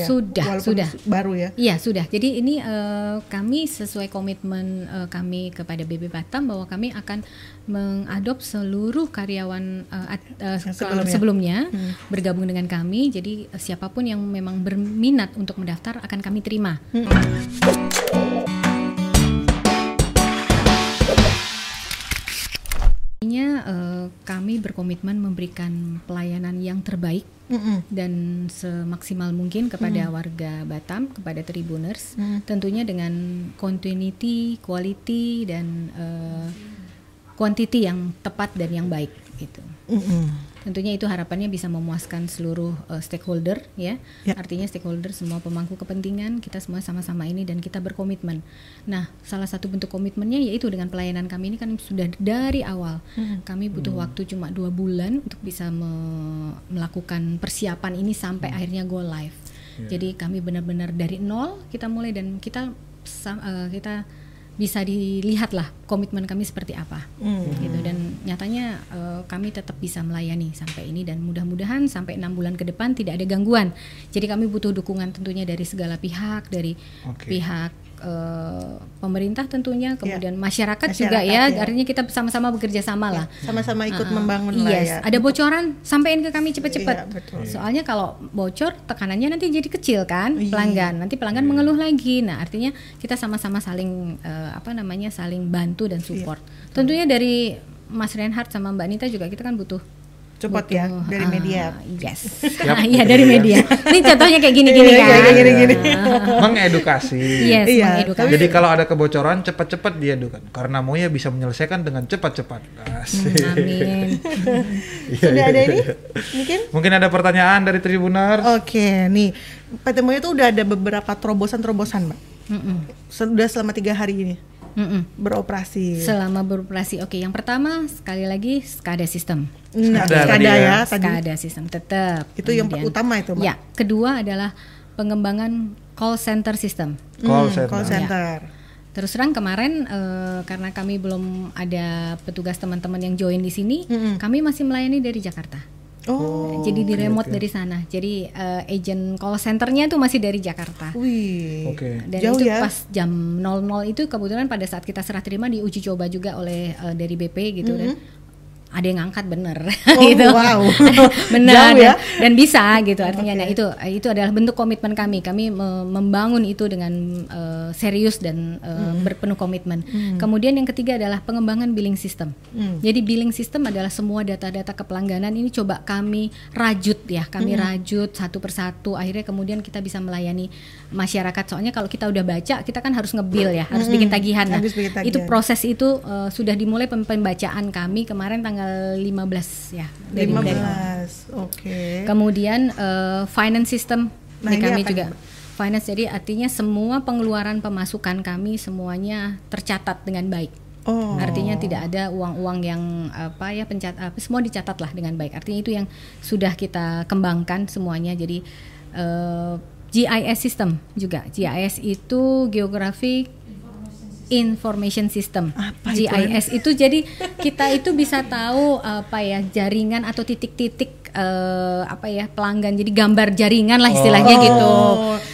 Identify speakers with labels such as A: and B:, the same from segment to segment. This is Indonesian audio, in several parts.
A: Ya,
B: Sudah,
A: walaupun
B: sudah.
A: Baru ya.
B: Iya sudah. Jadi ini eh, kami sesuai komitmen eh, kami kepada BB Batam bahwa kami akan mengadop seluruh karyawan eh, at- eh,
A: Yang sebelumnya.
B: sebelumnya
A: Hmm.
B: bergabung dengan kami. Jadi eh, siapapun yang memang berminat untuk mendaftar akan kami terima.
A: Hmm.
B: Intinya eh, kami berkomitmen memberikan pelayanan yang terbaik
A: Mm-mm.
B: dan semaksimal mungkin kepada warga Batam, kepada Tribuners,
A: Hmm.
B: tentunya dengan continuity, quality dan eh, quantity yang tepat dan yang baik gitu.
A: Mm-mm.
B: Tentunya itu harapannya bisa memuaskan seluruh eh, stakeholder ya.
A: Ya.
B: Artinya stakeholder semua pemangku kepentingan, kita semua sama-sama ini dan kita berkomitmen. Nah, salah satu bentuk komitmennya yaitu dengan pelayanan kami ini kan sudah dari awal. Kami butuh waktu cuma dua bulan untuk bisa me- melakukan persiapan ini sampai akhirnya go live. Jadi kami benar-benar dari nol kita mulai dan kita sam- eh, kita bisa dilihatlah komitmen kami seperti apa
A: Mm.
B: gitu dan nyatanya eh, kami tetap bisa melayani sampai ini dan mudah-mudahan sampai enam bulan ke depan tidak ada gangguan jadi kami butuh dukungan tentunya dari segala pihak dari
C: Oke.
B: pihak eh, pemerintah tentunya kemudian masyarakat,
A: Masyarakat,
B: juga ya
A: ya.
B: artinya kita sama-sama bekerja sama lah
A: Sama-sama ikut
B: Uh-uh.
A: membangun lah
B: Yes,
A: ya.
B: ada bocoran sampaikan ke kami cepet-cepet
A: Iya, betul.
B: soalnya kalau bocor tekanannya nanti jadi kecil kan
A: Iya.
B: pelanggan nanti pelanggan mengeluh lagi nah artinya kita sama-sama saling eh, apa namanya saling bantu
A: Iya.
B: dan support tentunya dari Mas Reinhardt sama Mbak Nita juga kita kan butuh
A: Cepat ya
B: butuh,
A: dari
B: ah,
A: media.
B: yes
C: Yap,
B: iya
C: dari
B: dari media
C: media.
B: ini contohnya kayak gini-gini
A: Iya,
B: kan Ah,
A: iya, iya, gini-gini.
C: mengedukasi.
B: yes
A: Iya,
B: mengedukasi.
C: Jadi kalau ada kebocoran cepat-cepat diadukan karena Moya bisa menyelesaikan dengan cepat-cepat.
B: Hmm.
C: Asik.
B: amin Iya,
A: Sudah ada ini? Mungkin?
C: Mungkin ada pertanyaan dari
A: Oh,
C: Tribuners.
A: Oke, nih PT Moyo itu udah ada beberapa terobosan-terobosan, Mbak.
B: Mm-mm,
A: Sudah selama tiga hari ini
B: mm-mm.
A: beroperasi.
B: selama beroperasi oke yang pertama sekali lagi skada sistem
A: Nah, ada
C: Ada tadi
A: ya,
C: ya.
A: tadi.
B: SCADA kan sistem tetap.
A: Itu yang
B: Kemudian-
A: utama itu, Mbak.
B: Ya, kedua adalah pengembangan call center system.
C: Call
A: Hmm,
C: center.
B: Ya.
A: Call center.
B: Terus terang kemarin eh, karena kami belum ada petugas teman-teman yang join di sini,
A: Mm-mm.
B: kami masih melayani dari Jakarta.
A: Oh,
B: Jadi di
C: oke,
B: remote
C: oke.
B: dari sana. Jadi eh, agent call centernya itu masih dari Jakarta.
A: wih.
C: Oke.
B: Dan
A: Jauh
B: itu
A: ya.
B: pas jam 00 itu kebetulan pada saat kita serah terima diuji coba juga oleh eh, dari BP gitu dan ada yang ngangkat bener
A: Mm-hmm. Oh,
B: gitu.
A: wow.
B: benar
A: Jauh ya.
B: dan, dan bisa gitu artinya nah itu itu adalah bentuk komitmen kami kami me- membangun itu dengan eh, serius dan eh,
A: Mm-hmm.
B: berpenuh komitmen kemudian yang ketiga adalah pengembangan billing system
A: Hmm.
B: jadi billing system adalah semua data-data kepelangganan ini coba kami rajut ya
A: Hmm.
B: kami rajut satu persatu akhirnya kemudian kita bisa melayani masyarakat soalnya kalau kita udah baca kita kan harus ngebil ya harus bikin tagihan nah
A: Hmm. Harus bikin
B: itu
A: tagihan.
B: proses itu eh, sudah dimulai pem- pembacaan kami kemarin tanggal 15 ya dari- dari
A: 15. Oke.
B: Kemudian eh, finance system
A: Nah,
B: di
A: ini
B: kami
A: apa
B: juga
A: nih, Mbak?
B: finance jadi artinya semua pengeluaran pemasukan kami semuanya tercatat dengan baik.
A: Oh.
B: Artinya tidak ada uang-uang yang apa ya pencat apa semua dicatatlah dengan baik. Artinya itu yang sudah kita kembangkan semuanya. Jadi eh, GIS system juga. GIS itu geographic information system.
A: Apa itu?
B: GIS itu jadi kita itu bisa tahu apa ya jaringan atau titik-titik eh, apa ya pelanggan. Jadi gambar jaringan lah istilahnya
A: Oh.
B: gitu.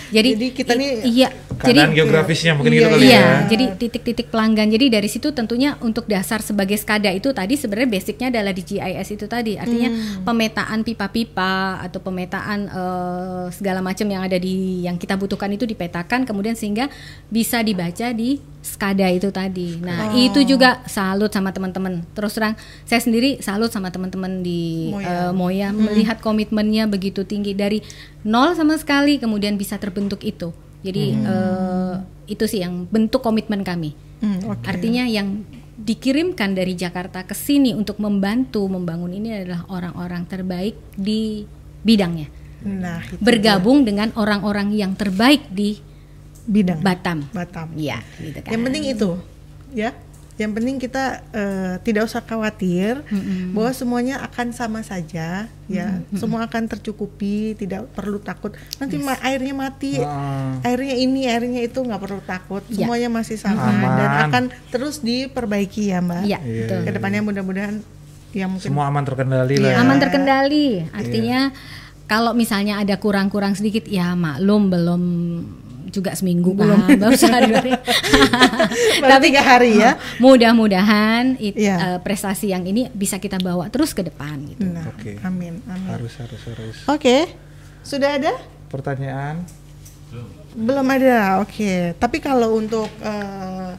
B: Jadi,
A: Jadi kita
B: i-
A: nih
B: iya.
C: Keadaan
B: jadi
C: geografisnya mungkin
A: Iya,
C: gitu kali
B: Iya,
C: ya.
B: jadi titik-titik pelanggan. Jadi dari situ tentunya untuk dasar sebagai skada itu tadi sebenarnya basicnya adalah di GIS itu tadi. Artinya pemetaan pipa-pipa atau pemetaan eh, segala macam yang ada di yang kita butuhkan itu dipetakan kemudian sehingga bisa dibaca di skada itu tadi. Nah, itu juga salut sama teman-teman. Terus terang saya sendiri salut sama teman-teman di
A: Moya.
B: eh, Moya melihat komitmennya begitu tinggi dari nol sama sekali kemudian bisa terbentuk itu. Jadi eh, itu sih yang bentuk komitmen kami.
A: Hmm, oke.
B: Artinya yang dikirimkan dari Jakarta ke sini untuk membantu membangun ini adalah orang-orang terbaik di bidangnya.
A: Nah, itu
B: Bergabung dengan orang-orang yang terbaik di
A: bidang
B: Batam.
A: Batam.
B: Iya, gitu kan.
A: Yang penting itu, ya. Yang penting kita eh, tidak usah khawatir bahwa semuanya akan sama saja, ya. Semua akan tercukupi, tidak perlu takut. Nanti ma- airnya mati,
C: Ah.
A: airnya ini, airnya itu nggak perlu takut.
B: Ya.
A: Semuanya masih sama
C: Aman.
A: dan akan terus diperbaiki ya, Mbak.
B: Iya,
C: Iya.
B: betul.
A: Kedepannya mudahan-mudahan yang mungkin
C: Semua aman terkendali ya.
A: Iya.
C: lah.
B: Aman terkendali, artinya Kalau misalnya ada kurang-kurang sedikit, ya maklum belum juga seminggu belum kan, baru sehari
A: Baru tiga hari ya.
B: Mudah-mudahan it-
A: Iya.
B: eh, prestasi yang ini bisa kita bawa terus ke depan gitu.
A: Nah,
C: Oke.
A: amin, amin.
C: harus harus harus
A: Oke, sudah ada?
C: pertanyaan
A: Belum ada. Oke, tapi kalau untuk eh,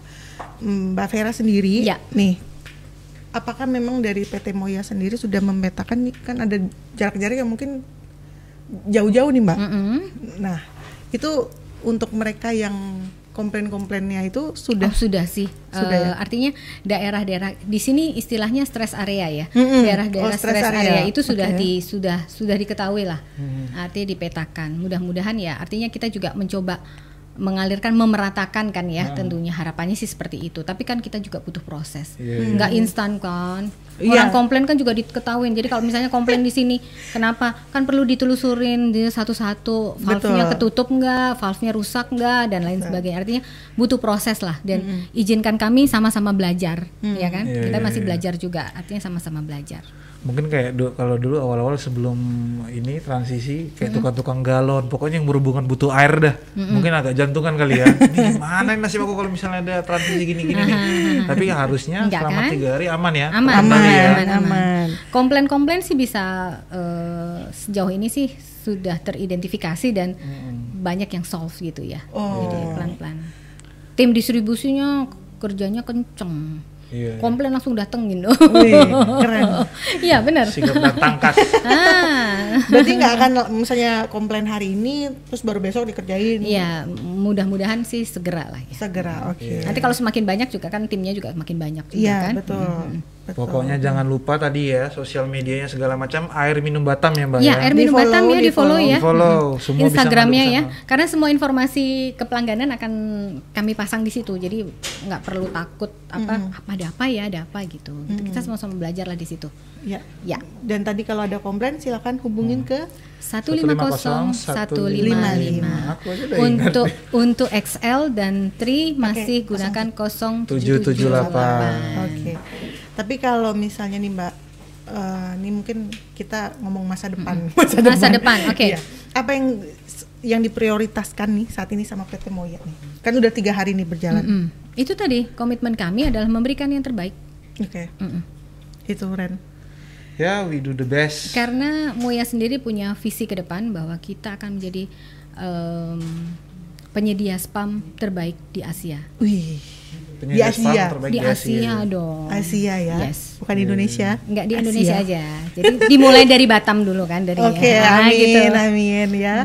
A: Mbak Vera sendiri,
B: Ya.
A: nih, apakah memang dari PT Moya sendiri sudah memetakan nih kan ada jarak-jarak yang mungkin jauh-jauh nih Mbak.
B: Mm-mm.
A: Nah, itu untuk mereka yang komplain-komplainnya itu sudah
B: Oh, sudah sih.
A: Sudah
B: Eh,
A: ya?
B: Artinya daerah-daerah di sini istilahnya stress area ya.
A: Mm-mm.
B: Daerah-daerah
A: Oh, stress
B: stress area.
A: area.
B: itu sudah
A: Oke. Mm-hmm.
B: di sudah sudah diketahui lah. Artinya dipetakan. Mudah-mudahan ya. Artinya kita juga mencoba mengalirkan memeratakan kan ya
A: Mm-hmm.
B: tentunya harapannya sih seperti itu tapi kan kita juga butuh proses
C: Iya,
B: nggak instan kan
A: Iya.
B: orang komplain kan juga diketahuin jadi kalau misalnya komplain di sini kenapa kan perlu ditelusurin dia satu-satu valve-nya
A: Betul.
B: ketutup tutup nggak, valve-nya rusak nggak, dan lain sebagainya. Artinya butuh proses lah dan izinkan kami sama-sama belajar, ya kan?
C: Iya,
B: Kita
C: iya,
B: masih
C: iya.
B: belajar juga, artinya sama-sama belajar.
C: mungkin kayak du- kalau dulu awal-awal sebelum ini transisi kayak tukang-tukang galon pokoknya yang berhubungan butuh air dah mungkin agak jantungan kali ya ini gimana ini nasib aku kalau misalnya ada transisi gini-gini nih tapi harusnya
B: Enggak
C: selama
B: kan?
C: tiga hari aman ya
B: Aman,
C: Aman ya.
B: aman, aman.
A: Aman.
B: Komplain-komplain sih bisa eh, sejauh ini sih sudah teridentifikasi dan banyak yang solve gitu ya.
A: Oh.
B: Jadi pelan-pelan. Tim distribusinya kerjanya kenceng.
C: Iya, iya.
B: Komplain langsung datengin.
A: Wih, keren.
B: Iya benar.
C: sigap datang kas
B: Ah.
A: Berarti nggak akan misalnya komplain hari ini terus baru besok dikerjain.
B: Iya, mudah-mudahan sih segera lah
A: Iya.
B: ya.
A: Segera, oke.
B: Nanti kalau semakin banyak juga kan timnya juga makin banyak juga
A: Iya,
B: kan.
A: betul. betul.
C: pokoknya jangan lupa tadi ya sosial medianya segala macam air minum batam ya mbak
B: Iya,
C: ya
B: air minum
A: Di-follow,
B: Batam ya di follow
A: di-follow.
B: ya.
C: Di-follow,
B: Mm-mm.
C: semua bisa
B: Instagramnya
C: ngadu ke
B: ya.
C: sana.
B: Karena semua informasi kepelangganan akan kami pasang di situ. Jadi nggak perlu takut apa apa ada apa ya, ada apa gitu. Gitu. Kita sama-sama belajar lah di situ.
A: Ya.
B: Ya.
A: Dan tadi kalau ada komplain silakan hubungin
B: Hmm.
A: ke
B: 150 155.
C: Aku aja udah ingat.
B: Untuk untuk XL dan Tri masih gunakan
C: 0778.
B: 0778.
A: Oke. Tapi kalau misalnya nih Mbak, eh, ini mungkin kita ngomong masa depan.
B: Hmm. Masa depan, oke.
A: Iya. Apa yang yang diprioritaskan nih saat ini sama PT Moya nih? Kan udah tiga hari nih berjalan.
B: Mm-mm. Itu tadi komitmen kami adalah memberikan yang terbaik.
A: Oke.
B: Mm-mm.
A: Itu Ren.
C: ya we do the best
B: Karena Moya sendiri punya visi ke depan bahwa kita akan menjadi em, penyedia spam terbaik di Asia.
A: Wih. Di Asia.
C: Penyedia spam terbaik
B: di Asia dong.
A: Asia
B: Yes.
A: ya,
B: Iya.
A: bukan Indonesia.
B: Enggak di
A: Asia.
B: Indonesia aja. Jadi dimulai dari Batam dulu kan dari
A: Oke,
B: Ah,
A: amin,
B: gitu. Hmm.
A: amin ya.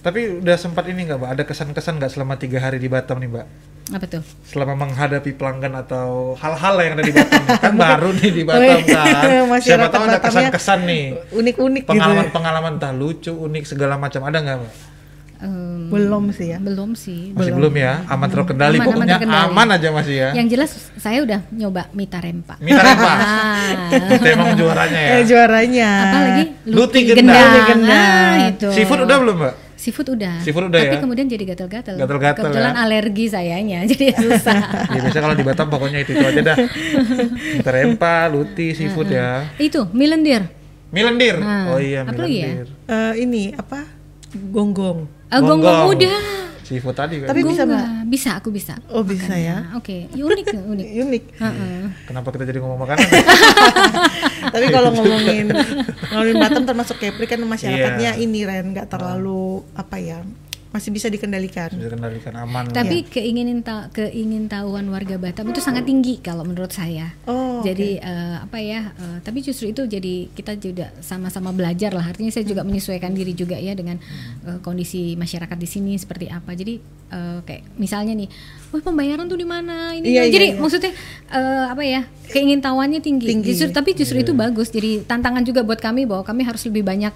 C: Tapi udah sempat ini nggak, Mbak? Ada kesan-kesan nggak selama tiga hari di Batam nih, Mbak?
B: Apa tuh?
C: Selama menghadapi pelanggan atau hal-hal yang ada di Batam, kan baru nih
B: Oh,
C: di
B: iya.
C: Batam kan.
A: Masyarakat
B: ya.
C: Siapa tahu ada
A: Batamnya
C: kesan-kesan nih,
A: Unik-unik gitu.
C: pengalaman-pengalaman entah lucu, unik segala macam ada nggak, Mbak?
B: Em,
A: Belum sih ya.
B: belum sih.
C: Masih belum, ya, aman terkendali.
B: Aman, aman
C: Pokoknya
B: terkendali.
C: aman aja masih ya.
B: Yang jelas saya udah nyoba Mitarempa.
C: Mita Rempa,
B: Ah.
C: itu emang juaranya ya.
A: Eh juaranya.
B: apalagi
C: Luti gendang.
B: gendang,
A: Luti gendang.
B: Ah, itu
C: Seafood udah belum, Mbak?
B: seafood udah
C: Seafood udah
B: tapi
C: ya?
B: kemudian jadi gatal-gatal
C: Gatal-gatal
B: kebetulan
C: ya?
B: alergi sayanya jadi susah
C: Ya biasa kalau di Batam pokoknya itu, itu aja dah. Mita Rempa, luti, seafood ya.
B: itu milendir
C: Milendir.
B: Ah,
C: Oh iya,
B: apa lagi ya?
C: milendir.
A: Eh, ini apa? Gonggong.
B: Ah, gonggong udah
C: Seafood tadi kan.
A: Tapi bisa,
B: Gonggong. bisa aku bisa
A: Oh, bisa ya.
B: Nah, oke Ya, unik unik
A: Unik.
B: Heeh.
C: Kenapa kita jadi ngomong makanan?
A: Tapi kalau ngomongin ngomongin Batam termasuk Kepri kan masyarakatnya
C: Iya.
A: ini Ren nggak terlalu
B: Nah.
A: apa ya masih bisa dikendalikan.
B: Iya.
C: Bisa kendalikan aman.
A: Iya.
B: tapi keinginin ta- keingintahuan warga Batam itu sangat tinggi kalau menurut saya
A: Oh.
B: jadi eh, apa ya eh, tapi justru itu jadi kita juga sama-sama belajar lah artinya saya
A: Hmm.
B: juga menyesuaikan diri juga ya dengan eh, kondisi masyarakat di sini seperti apa jadi eh, kayak misalnya nih wah pembayaran tuh di mana ini
A: Iya, iya,
B: jadi
A: iya.
B: maksudnya eh, apa ya keingintahuannya tinggi,
A: Tinggi. Iya,
B: Justru- tapi justru itu bagus jadi tantangan juga buat kami bahwa kami harus lebih banyak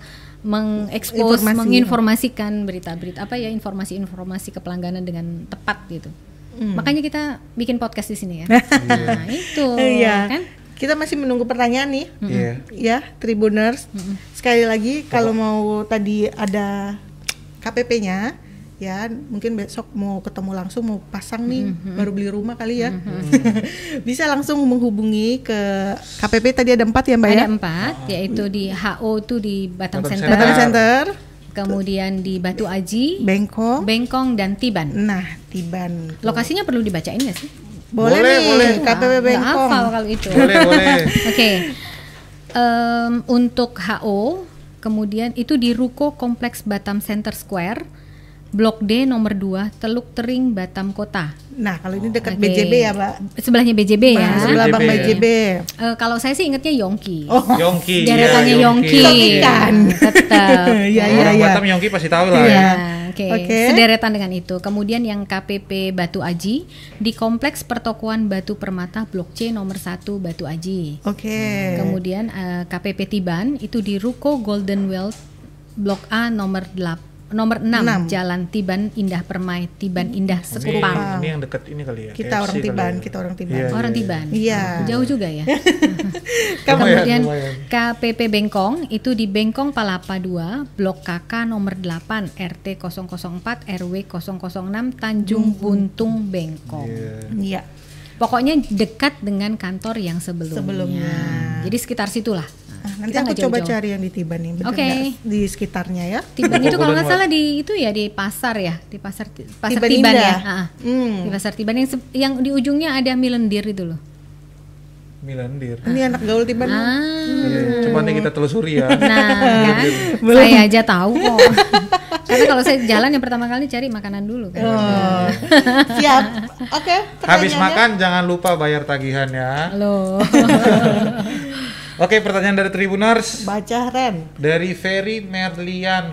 B: mengekspos
A: Informasi.
B: menginformasikan berita-berita apa ya informasi-informasi kepelangganan dengan tepat gitu
A: Hmm.
B: makanya kita bikin podcast di sini ya nah itu
A: Iya.
B: kan
A: Kita masih menunggu pertanyaan nih.
C: Iya.
A: Ya, Tribuners. Sekali lagi kalau mau tadi ada KPP-nya ya mungkin besok mau ketemu langsung mau pasang nih
B: Mm-hmm.
A: baru beli rumah kali ya bisa langsung menghubungi ke KPP tadi ada empat ya mbak
B: Ada
A: ya
B: empat, yaitu di HO itu di Batang
C: Batang
B: Center,
C: Center.
A: Datang Center
B: kemudian di Batu Aji,
A: Bengkok
B: Bengkong dan Tiban.
A: nah Tiban
B: Lokasinya perlu dibacain nggak sih?
A: boleh,
C: Boleh,
A: nih
C: boleh.
B: Nah,
A: KPP
B: Nggak
A: Bengkong
B: hafal kalau itu.
C: boleh boleh
B: Oke, Em, untuk HO, kemudian itu di Ruko Kompleks Batam Center Square, Blok D nomor 2, Teluk Tering, Batam Kota.
A: nah kalau ini dekat
B: Oke.
A: BJB ya mbak
B: Sebelahnya BJB ya.
A: Nah, sebelah
C: BJB.
A: Bang BJB
B: Eh, kalau saya sih ingetnya Yongki.
A: oh
C: Yongki iya,
B: Deretannya Yongki.
A: Yongki kan.
B: Tetap.
A: Iya, iya,
C: orang
A: iya.
C: Batam Yongki pasti tahu lah
A: Iya.
C: ya.
B: Ya, Oke,
A: Oke.
B: sederetan dengan itu. Kemudian yang KPP Batu Aji di Kompleks Pertokoan Batu Permata Blok C nomor 1 Batu Aji.
A: oke
B: Kemudian eh, KPP Tiban itu di Ruko Golden Wealth Blok A nomor 8 nomor 6,
A: Enam.
B: Jalan Tiban Indah Permai, Tiban Indah
C: Ini,
B: Sekupang.
C: ini yang dekat ini kali ya.
A: Kita orang
C: kali
A: Tiban,
C: ya.
A: kita orang Tiban.
C: Iya,
B: Orang
C: iya, iya.
B: Tiban.
A: Iya.
B: Jauh juga ya.
C: Lumayan,
B: Kemudian
C: ya? lumayan.
B: KPP Bengkong itu di Bengkong Palapa 2, Blok KK nomor 8, RT 004, RW 006, Tanjung Buntung, Bengkong.
C: Hmm.
A: iya
C: Iya.
B: Pokoknya dekat dengan kantor yang sebelumnya.
A: Sebelumnya.
B: Jadi sekitar situlah.
A: Ah, nanti
B: Iya. Kita
A: aku
B: nggak
A: coba
B: jauh-jauh.
A: cari yang di Tiban nih bener
B: Oke.
A: nggak di sekitarnya ya
B: Tiban
C: Ruko
B: itu kalau nggak
C: Golden
B: salah di itu ya di pasar ya, di pasar pasar
A: Tiban
B: Tiban, ya.
A: Indah.
B: Ah, ah.
A: Hmm.
B: Di pasar Tiban yang se- yang di ujungnya ada milendir itu loh.
C: Milandir.
A: ini anak gaul Tiban nih.
B: Ah.
C: Iya, coba nih kita telusuri ya.
B: Nah, kan? saya aja tahu kok. Karena kalau saya jalan yang pertama kali cari makanan dulu kan.
A: Oh. siap oke pertanyaannya.
C: Habis makan jangan lupa bayar tagihan ya.
B: Loh.
C: Oke, pertanyaan dari Tribuners
A: baca Ren
C: dari Ferry Merlian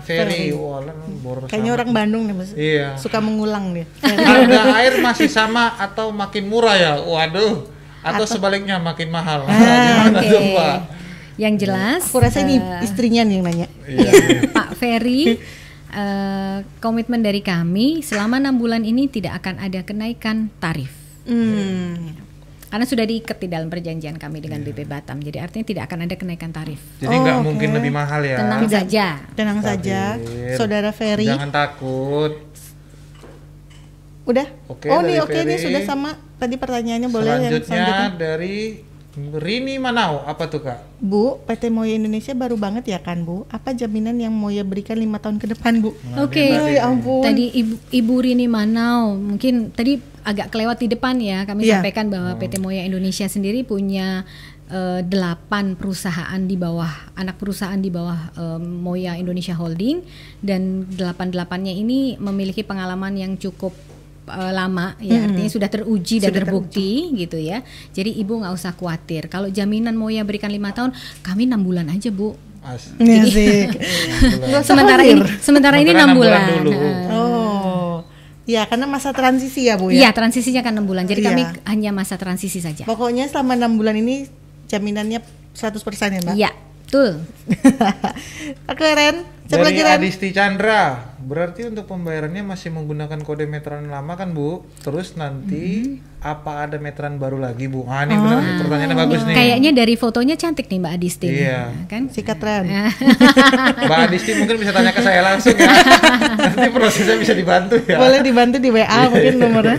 A: Ferry.
C: Ferry. Wah, lah, boros
A: kayaknya
C: amat.
A: orang Bandung nih Mas.
C: Iya.
A: suka mengulang nih
C: Harga air masih sama atau makin murah ya? Waduh. Atau, sebaliknya makin mahal.
B: Ah,
C: Gimana
B: Oke.
C: tuh, Pak?
B: Yang jelas
A: aku rasa ini istrinya nih yang nanya
C: Iya.
B: Pak Ferry eh, komitmen dari kami selama enam bulan ini tidak akan ada kenaikan tarif.
A: hmm.
B: Karena sudah diikat di dalam perjanjian kami dengan
C: Iya.
B: BP Batam. Jadi artinya tidak akan ada kenaikan tarif.
C: Jadi nggak mungkin lebih mahal ya.
B: Tenang
A: Tidak.
B: saja.
A: tenang saja
C: Tabir.
A: saudara Ferry
C: Jangan takut.
A: udah
C: Oke,
A: oh nih
C: dari
A: oke nih
C: Ferry.
A: sudah sama tadi pertanyaannya boleh yang
C: selanjutnya
A: selanjutnya
C: dari Rini Manau apa tuh kak?
A: Bu, PT Moya Indonesia baru banget ya kan Bu? Apa jaminan yang Moya berikan lima tahun ke depan Bu?
B: Oke.
A: Oh, ya ampun.
B: Tadi Ibu, Ibu Rini Manau mungkin tadi agak kelewat di depan ya kami
A: Iya.
B: sampaikan
C: Oh.
B: bahwa PT Moya Indonesia sendiri punya eh, delapan perusahaan di bawah anak perusahaan di bawah eh, Moya Indonesia Holding dan delapan delapannya ini memiliki pengalaman yang cukup eh, lama ya
A: Hmm.
B: artinya sudah teruji dan terbukti gitu ya jadi ibu nggak usah khawatir kalau jaminan Moya berikan lima tahun kami enam bulan aja bu
C: As.
A: Asik. Nggak usah
B: sementara
A: khawatir.
B: ini sementara ini
C: Sementara
B: enam
C: enam bulan
B: bulan,
C: dulu.
B: Nah.
A: Oh. Ya, karena masa transisi ya, Bu ya.
B: Iya, transisinya kan enam bulan. Jadi
A: Iya.
B: kami hanya masa transisi saja.
A: Pokoknya selama enam bulan ini jaminannya 100% ya, Mbak.
B: Iya, betul.
A: Oke, Ren. Siapa
C: Dari
A: lagi, Ren?
C: Adisti Chandra, berarti untuk pembayarannya masih menggunakan kode meteran lama kan bu? Terus
B: Hmm.
C: nanti apa ada meteran baru lagi bu? Ah
B: Oh.
C: ini benar nih, pertanyaannya bagus nih.
B: Kayaknya dari fotonya cantik nih Mbak Adisti.
C: Iya.
B: Nah, Kan?
A: Sikat, Ren.
C: Mbak Adisti mungkin bisa tanya ke saya langsung ya. Nanti prosesnya bisa dibantu ya.
A: Boleh dibantu di WA
C: Iya,
A: mungkin nomornya.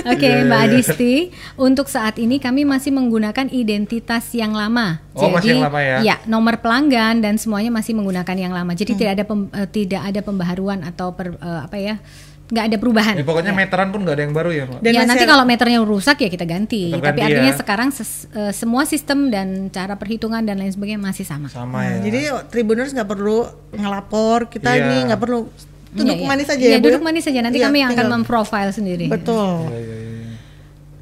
B: Oke, Mbak Adisti, untuk saat ini kami masih menggunakan identitas yang lama.
C: Oh, masih yang lama ya?
B: Iya, nomor pelanggan dan semuanya masih menggunakan yang lama. Jadi
A: Hmm.
B: tidak ada pem- eh, tidak ada pembaharuan atau per- eh, apa ya? nggak ada perubahan.
C: Ya, pokoknya meteran pun nggak ada yang baru ya mbak.
A: Dan
B: ya
A: masih
B: nanti
A: ada-
B: kalau meternya rusak ya kita ganti.
C: Tetap
B: Tapi
C: ganti
B: artinya
C: ya.
B: sekarang ses- eh, semua sistem dan cara perhitungan dan lain sebagainya masih sama.
C: Sama ya.
A: Jadi oh, Tribuners nggak perlu ngelapor, kita
C: Iya.
A: ini nggak perlu duduk
B: Iya, iya.
A: manis aja
B: Iya,
A: ya, Bu.
B: duduk manis saja. Nanti
A: Iya,
B: kami yang akan
A: tinggal-
B: memprofile sendiri.
A: Betul.
C: Iya, iya, iya.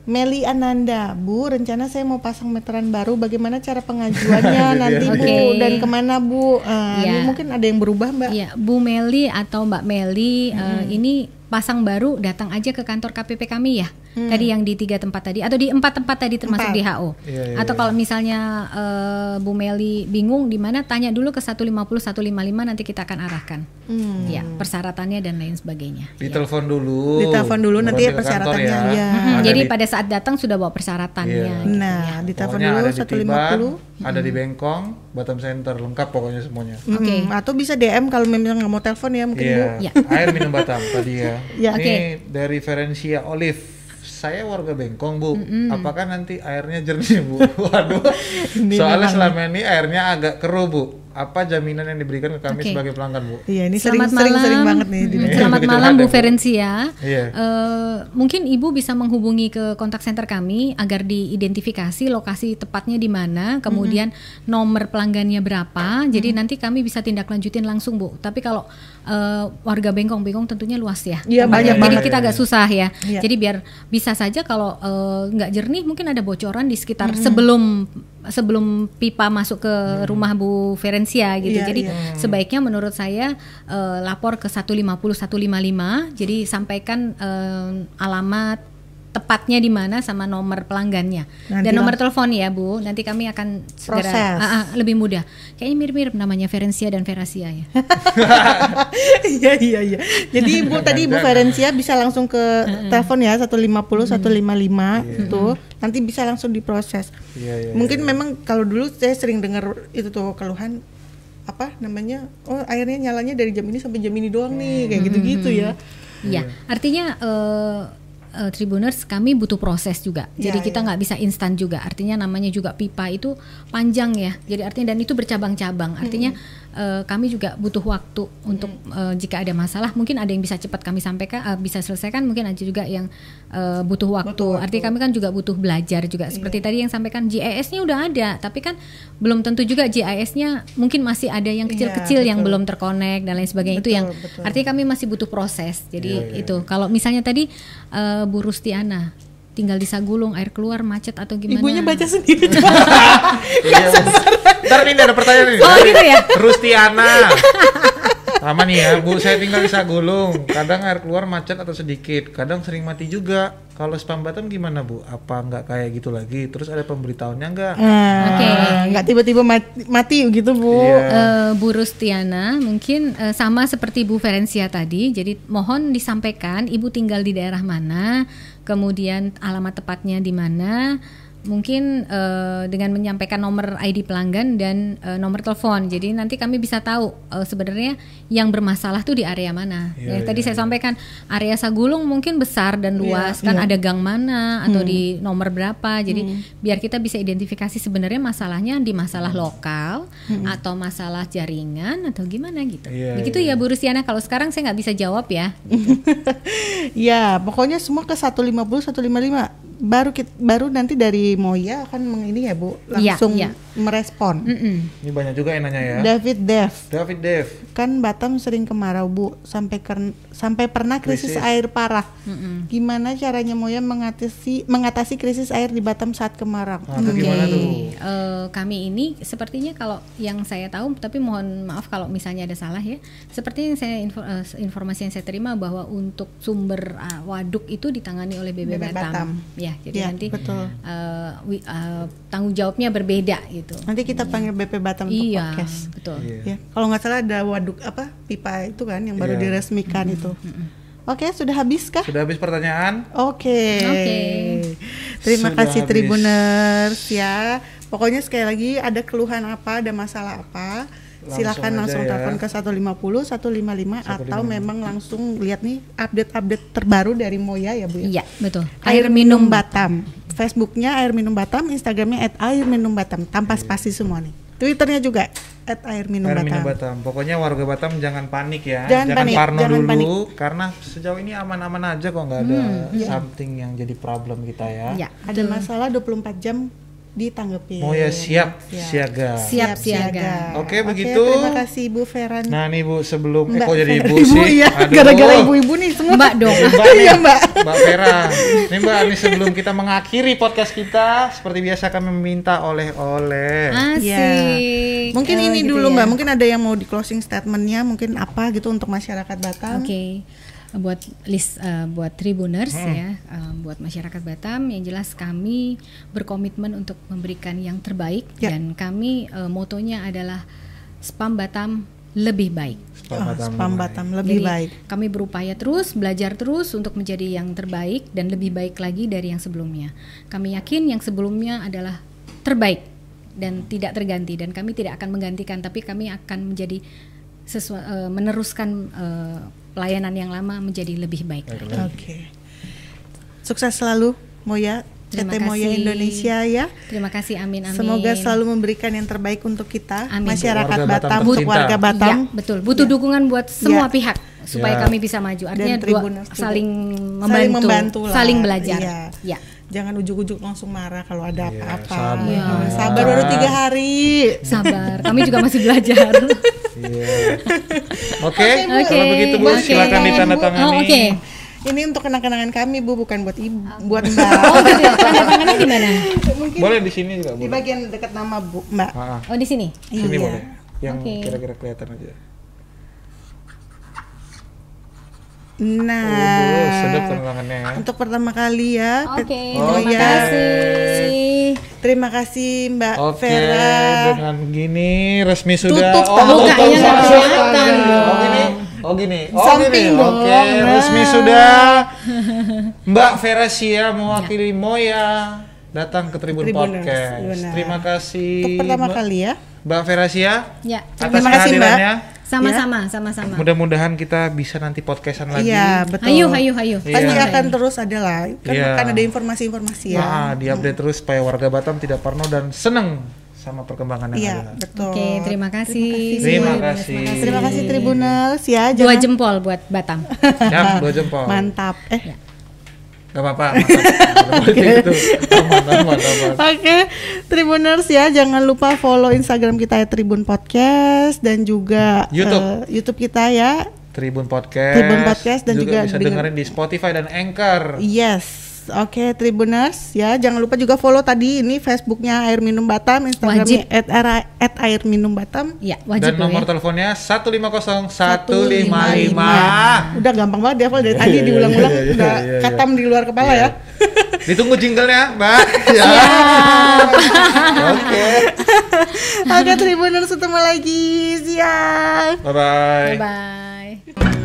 A: Meli Ananda, Bu, rencana saya mau pasang meteran baru. Bagaimana cara pengajuannya nanti, Bu?
B: Oke.
A: Dan kemana, Bu? Eh,
B: Iya.
A: Ini mungkin ada yang berubah, Mbak.
B: Iya, Bu Meli atau Mbak Meli eh, ini pasang baru datang aja ke kantor KPP kami ya. tadi yang di tiga tempat tadi atau di empat tempat tadi termasuk
A: Mm. Empat.
B: WHO.
C: Iya, iya,
B: atau
C: iya.
B: kalau misalnya eh, Bu Meli bingung di mana tanya dulu ke 150 155 nanti kita akan arahkan.
A: Hmm.
B: Ya, persyaratannya dan lain sebagainya.
C: Ditelepon dulu.
A: Ditelepon dulu, nanti
C: Bukan
A: ya
C: ke kantor
A: persyaratannya, iya.
B: Mm-mm,
C: Ada
B: Jadi
C: di-
B: pada saat datang sudah bawa persyaratannya.
C: Ah, Iya.
B: gitu
A: Nah,
B: ya.
A: ditelepon
C: pokoknya
A: dulu
C: ada di Tiban,
A: 150.
C: ada
A: Hmm.
C: di Bengkong, Batam Center lengkap pokoknya semuanya.
A: Mm,
B: Oke.
A: Atau bisa DM kalau memang nggak mau telepon ya mungkin Bu.
C: Iya,
B: Iya.
C: air minum Batam tadi ya.
A: Iya.
C: Ini
B: Oke.
C: dari Ferencia Olive. Saya warga Bengkong, Bu. Apakah nanti airnya jernih, Bu? Waduh. Soalnya selama ini airnya agak keruh, Bu. Apa jaminan yang diberikan ke kami
B: Oke.
C: sebagai pelanggan, Bu?
A: Iya, ini
B: Selamat
A: sering-sering
B: malam.
A: sering banget nih.
B: Mm,
A: di-
C: Iya,
B: Selamat
C: begitu
B: malam
C: ada,
B: Bu
C: Bu.
B: Ferencia.
C: Iya.
B: Eh, mungkin Ibu bisa menghubungi ke kontak center kami agar diidentifikasi lokasi tepatnya di mana, kemudian nomor pelanggannya berapa. Jadi nanti kami bisa tindak lanjutin langsung, Bu. Tapi kalau eh, warga Bengkong-Bengkong tentunya luas ya.
A: Iya,
B: tempatnya.
A: banyak
B: Jadi
A: banget.
B: kita agak susah ya.
A: Iya.
B: Jadi biar bisa saja kalau eh, nggak jernih mungkin ada bocoran di sekitar sebelum sebelum pipa masuk ke rumah Bu Ferencia gitu.
A: Iya,
B: Jadi
A: iya.
B: sebaiknya menurut saya eh, lapor ke 150 155 jadi sampaikan eh, alamat tepatnya di mana sama nomor pelanggannya
A: Nanti
B: dan nomor
A: lang-
B: telepon ya Bu nanti kami akan segera
A: Proses.
B: Ah, ah, lebih mudah kayaknya mirip-mirip namanya Ferencia dan Verasia ya
A: Iya, iya, iya. Jadi Ibu tadi Ibu Ferencia bisa langsung ke telepon ya 150 155 itu. gitu. Nanti bisa langsung diproses.
C: Iya, iya.
A: Mungkin memang kalau dulu saya sering dengar itu tuh keluhan apa namanya? Oh, airnya nyalanya dari jam ini sampai jam ini doang nih, kayak gitu-gitu ya.
B: Iya, artinya eh, eh, Tribuners kami butuh proses juga.
A: Iya,
B: Jadi kita
A: iya.
B: nggak bisa instan juga. Artinya namanya juga pipa itu panjang ya. Jadi artinya dan itu bercabang-cabang. Artinya eh, kami juga butuh waktu untuk eh, jika ada masalah mungkin ada yang bisa cepat kami sampaikan, eh, bisa selesaikan. Mungkin ada juga yang eh, butuh waktu. Iya. Artinya kami kan juga butuh belajar juga. Seperti tadi yang sampaikan GIS-nya udah ada, tapi kan belum tentu juga GIS-nya mungkin masih ada yang kecil-kecil yang belum terkonek dan lain sebagainya itu yang
A: betul. Iya,
B: artinya kami masih butuh proses. Jadi itu kalau misalnya tadi eh, Bu Rustiana tinggal di Sagulung air keluar macet atau gimana?
A: Ibunya baca sendiri.
C: Iya, Bu. Ntar ini ada pertanyaan nih.
B: Oh gitu ya.
C: Rustiana. Lama nih ya, Bu. Saya tinggal di Sagulung. Kadang air keluar macet atau sedikit. Kadang sering mati juga. Kalau spam Batam gimana, Bu? Apa nggak kayak gitu lagi? Terus ada pemberitahuannya nggak?
A: Ah,
B: Oke.
A: nggak tiba-tiba mati, mati gitu, Bu.
B: Eh, Bu Rustiana mungkin eh, sama seperti Bu Ferencia tadi. Jadi mohon disampaikan Ibu tinggal di daerah mana, kemudian alamat tepatnya di mana. Mungkin eh, dengan menyampaikan nomor ID pelanggan dan eh, nomor telepon. Jadi nanti kami bisa tahu eh, sebenarnya yang bermasalah tuh di area mana.
C: Iya, iya.
B: Ya, tadi saya sampaikan area Sagulung mungkin besar dan luas kan ada gang mana
C: Hmm.
B: atau di nomor berapa. Jadi biar kita bisa identifikasi sebenarnya masalahnya di masalah
C: Hmm.
B: lokal atau masalah jaringan atau gimana gitu.
C: Iya,
B: Begitu ya Bu Rusiana. Kalau sekarang saya nggak bisa jawab ya.
A: Ya, pokoknya semua ke 150 155. Baru kit- baru nanti dari Moya akan meng- ini ya, Bu,
B: Iya,
A: langsung
B: iya.
A: merespon.
B: Mm-mm.
C: Ini banyak juga yang nanya ya.
A: David Dev,
C: David Dev.
A: kan Batam sering kemarau, Bu, sampai keren- sampai pernah krisis,
C: Krisis.
A: air parah. Gimana caranya Moya mengatasi mengatasi krisis air di Batam saat kemarau?
C: Nah, itu gimana
B: Oke,
C: tuh?
B: eh, kami ini sepertinya kalau yang saya tahu, tapi mohon maaf kalau misalnya ada salah ya. Seperti yang saya info- eh, informasi yang saya terima bahwa untuk sumber ah, waduk itu ditangani oleh BB,
A: BB
B: Batam.
A: Batam.
B: Ya, jadi
A: Ya,
B: nanti
A: betul.
B: eh, wi- eh, tanggung jawabnya berbeda gitu.
A: Nanti kita panggil BP Batam untuk
B: iya,
A: podcast.
B: betul.
C: Iya.
A: Ya, kalau nggak salah ada waduk apa pipa itu kan yang baru
C: Iya.
A: diresmikan itu. Oke, sudah habis kah?
C: Sudah habis pertanyaan?
A: Oke.
B: Oke.
A: Terima
C: Sudah
A: kasih
C: habis.
A: Tribuners ya. Pokoknya sekali lagi ada keluhan apa, ada masalah apa,
C: Langsung
A: silakan
C: aja
A: langsung
C: ya.
A: telepon ke 150 155 atau memang langsung lihat nih update-update terbaru dari Moya ya Bu ya.
B: Iya, betul.
A: Air Minum Batam. Facebooknya Air Minum Batam, Instagramnya at Air Minum Batam. Tanpa spasi semua nih. Twitternya juga at Air Minum
C: Iya. Air minum
A: Batam.
C: Batam. Pokoknya warga Batam jangan panik ya.
A: Jangan panik,
C: parno
A: jangan
C: dulu
A: panik. Hmm, iya.
C: karena sejauh ini aman-aman aja kok nggak ada something yang jadi problem kita ya.
B: Iya.
A: Ada masalah 24 jam ditanggepin.
C: Mau ya siap,
A: Iya.
C: siaga.
B: Siap siaga.
C: Oke, begitu.
A: Terima kasih Bu Feran.
C: Nah nih Bu, sebelum eh,
A: Mbak
C: kok jadi
A: Fer-
C: Ibu
A: Ibu
C: sih?
A: ya,
C: Aduh.
A: gara-gara ibu-ibu nih semua.
B: Mbak dong.
C: Mbak nih,
A: Iya, Mbak.
C: Mbak Vera. Nih Mbak, nih sebelum kita mengakhiri podcast kita, seperti biasa kami meminta oleh-oleh.
B: Asik.
A: Ya. Mungkin
B: Oh,
A: ini
B: gitu
A: dulu
B: ya.
A: Mbak, mungkin ada yang mau di closing statementnya, mungkin apa gitu untuk masyarakat Batam.
B: Oke. buat list eh, buat Tribuners
A: Hmm.
B: ya, eh, buat masyarakat Batam yang jelas kami berkomitmen untuk memberikan yang terbaik
A: Ya.
B: dan kami eh, motonya adalah spam Batam lebih baik.
C: Spam
A: Oh,
C: Batam
A: spam
C: lebih
A: Batam lebih
B: Jadi,
A: baik.
B: Kami berupaya terus, belajar terus untuk menjadi yang terbaik dan lebih baik lagi dari yang sebelumnya. Kami yakin yang sebelumnya adalah terbaik dan tidak terganti dan kami tidak akan menggantikan tapi kami akan menjadi sesua- eh, meneruskan eh, pelayanan yang lama menjadi lebih baik.
C: baik.
A: Oke. Sukses selalu Moya,
B: Terima
A: PT Moya
B: kasih.
A: Indonesia ya.
B: Terima kasih amin amin. Iya,
A: Semoga selalu memberikan yang terbaik untuk kita,
B: Amin.
A: masyarakat
C: Warga Batam
A: Batam, untuk
C: tercinta.
A: warga Batam.
B: Iya, betul. Butuh dukungan buat semua pihak supaya
C: Ya.
B: kami bisa maju. Artinya dua,
A: Tribuners Iya. juga.
B: saling membantu, saling,
A: Saling membantu lah.
B: belajar.
A: Iya.
B: Ya.
A: Jangan ujuk-ujuk langsung marah kalau ada
C: Iya,
A: apa-apa.
C: sabar.
A: Iya, Sabar baru tiga hari.
B: Sabar, kami juga masih belajar.
C: Iya. Oke,
B: Oke,
C: kalau begitu Bu
B: oke.
C: silakan ditandatangani.
B: Oh, oke.
A: Ini untuk kenang-kenangan kami bu, bukan buat ibu, buat mbak.
B: Oh, gitu. Tanda tangannya di mana?
A: Mungkin
C: Boleh di sini juga, Bu.
A: di bagian dekat nama bu mbak.
C: Ah, ah.
B: Oh, di sini.
C: sini
A: Iya.
C: boleh. Yang
B: Oke.
C: kira-kira kelihatan aja. Waduh, Oh, sedap
A: Nah,
C: tanda tangannya.
A: untuk pertama kali ya.
B: Oke,
A: Pet-
B: terima
C: Oh, iya.
A: Moya.
B: kasih.
A: Terima kasih Mbak
C: Oke,
A: Vera.
C: dengan gini resmi sudah. Oh,
A: Tutup tangan.
C: tutup
B: Buka, yang
C: tangan.
B: kelihatan
C: Oh gini, oh gini, oh
A: Samping
C: gini.
A: dong.
C: Oke, resmi sudah. Mbak Vera Sia mewakili Moya datang ke Tribun
A: Tribuners,
C: Podcast.
A: benar.
C: Terima kasih.
A: Untuk pertama
C: Mbak-
A: kali ya.
C: Mbak Vera Sia.
B: Ya,
C: atas
A: Terima kasih, Mbak.
C: kehadirannya.
B: sama-sama,
C: Ya.
B: sama-sama.
C: Mudah-mudahan kita bisa nanti podcastan
A: Nah.
C: lagi.
A: Iya betul.
B: Ayo, ayo, ayo.
A: Pasti akan terus ada lah. Kan,
C: Iya.
A: kan ada informasi-informasi ya.
C: Nah, diupdate terus supaya warga Batam tidak parno dan seneng sama perkembangan yang
A: Iya
C: ada.
A: betul.
B: Oke, terima kasih.
C: Terima kasih.
A: Terima kasih Tribunals ya.
B: Dua
A: Jangan
B: jempol buat Batam.
C: Ya, dua jempol.
A: mantap. Eh.
C: Gak apa-apa. mantap. Gitu. Aman, aman, aman.
A: Oke, Tribuners ya, jangan lupa follow Instagram kita ya Tribun Podcast dan juga
C: YouTube.
A: eh, YouTube kita ya.
C: Tribun Podcast.
A: Tribun Podcast dan juga
C: bisa
A: dengan- Iya,
C: dengerin di Spotify dan Anchor.
A: Yes. Oke, Tribuners ya, jangan lupa juga follow tadi ini Facebooknya Air Minum Batam,
B: Wajib.
A: Instagramnya at, air- at Air Minum Batam.
B: Ya,
C: Dan
B: wajib loh
C: nomor
B: ya.
C: teleponnya 150 155.
A: Udah gampang banget ya, kalau dari tadi diulang-ulang
C: iya, iya,
A: udah
C: iya, iya.
A: katam di luar kepala ya.
C: Ditunggu jinglenya, Mbak. Ya. Oke.
A: Oke, Tribuners ketemu lagi. Siap.
C: Bye-bye.
B: Bye.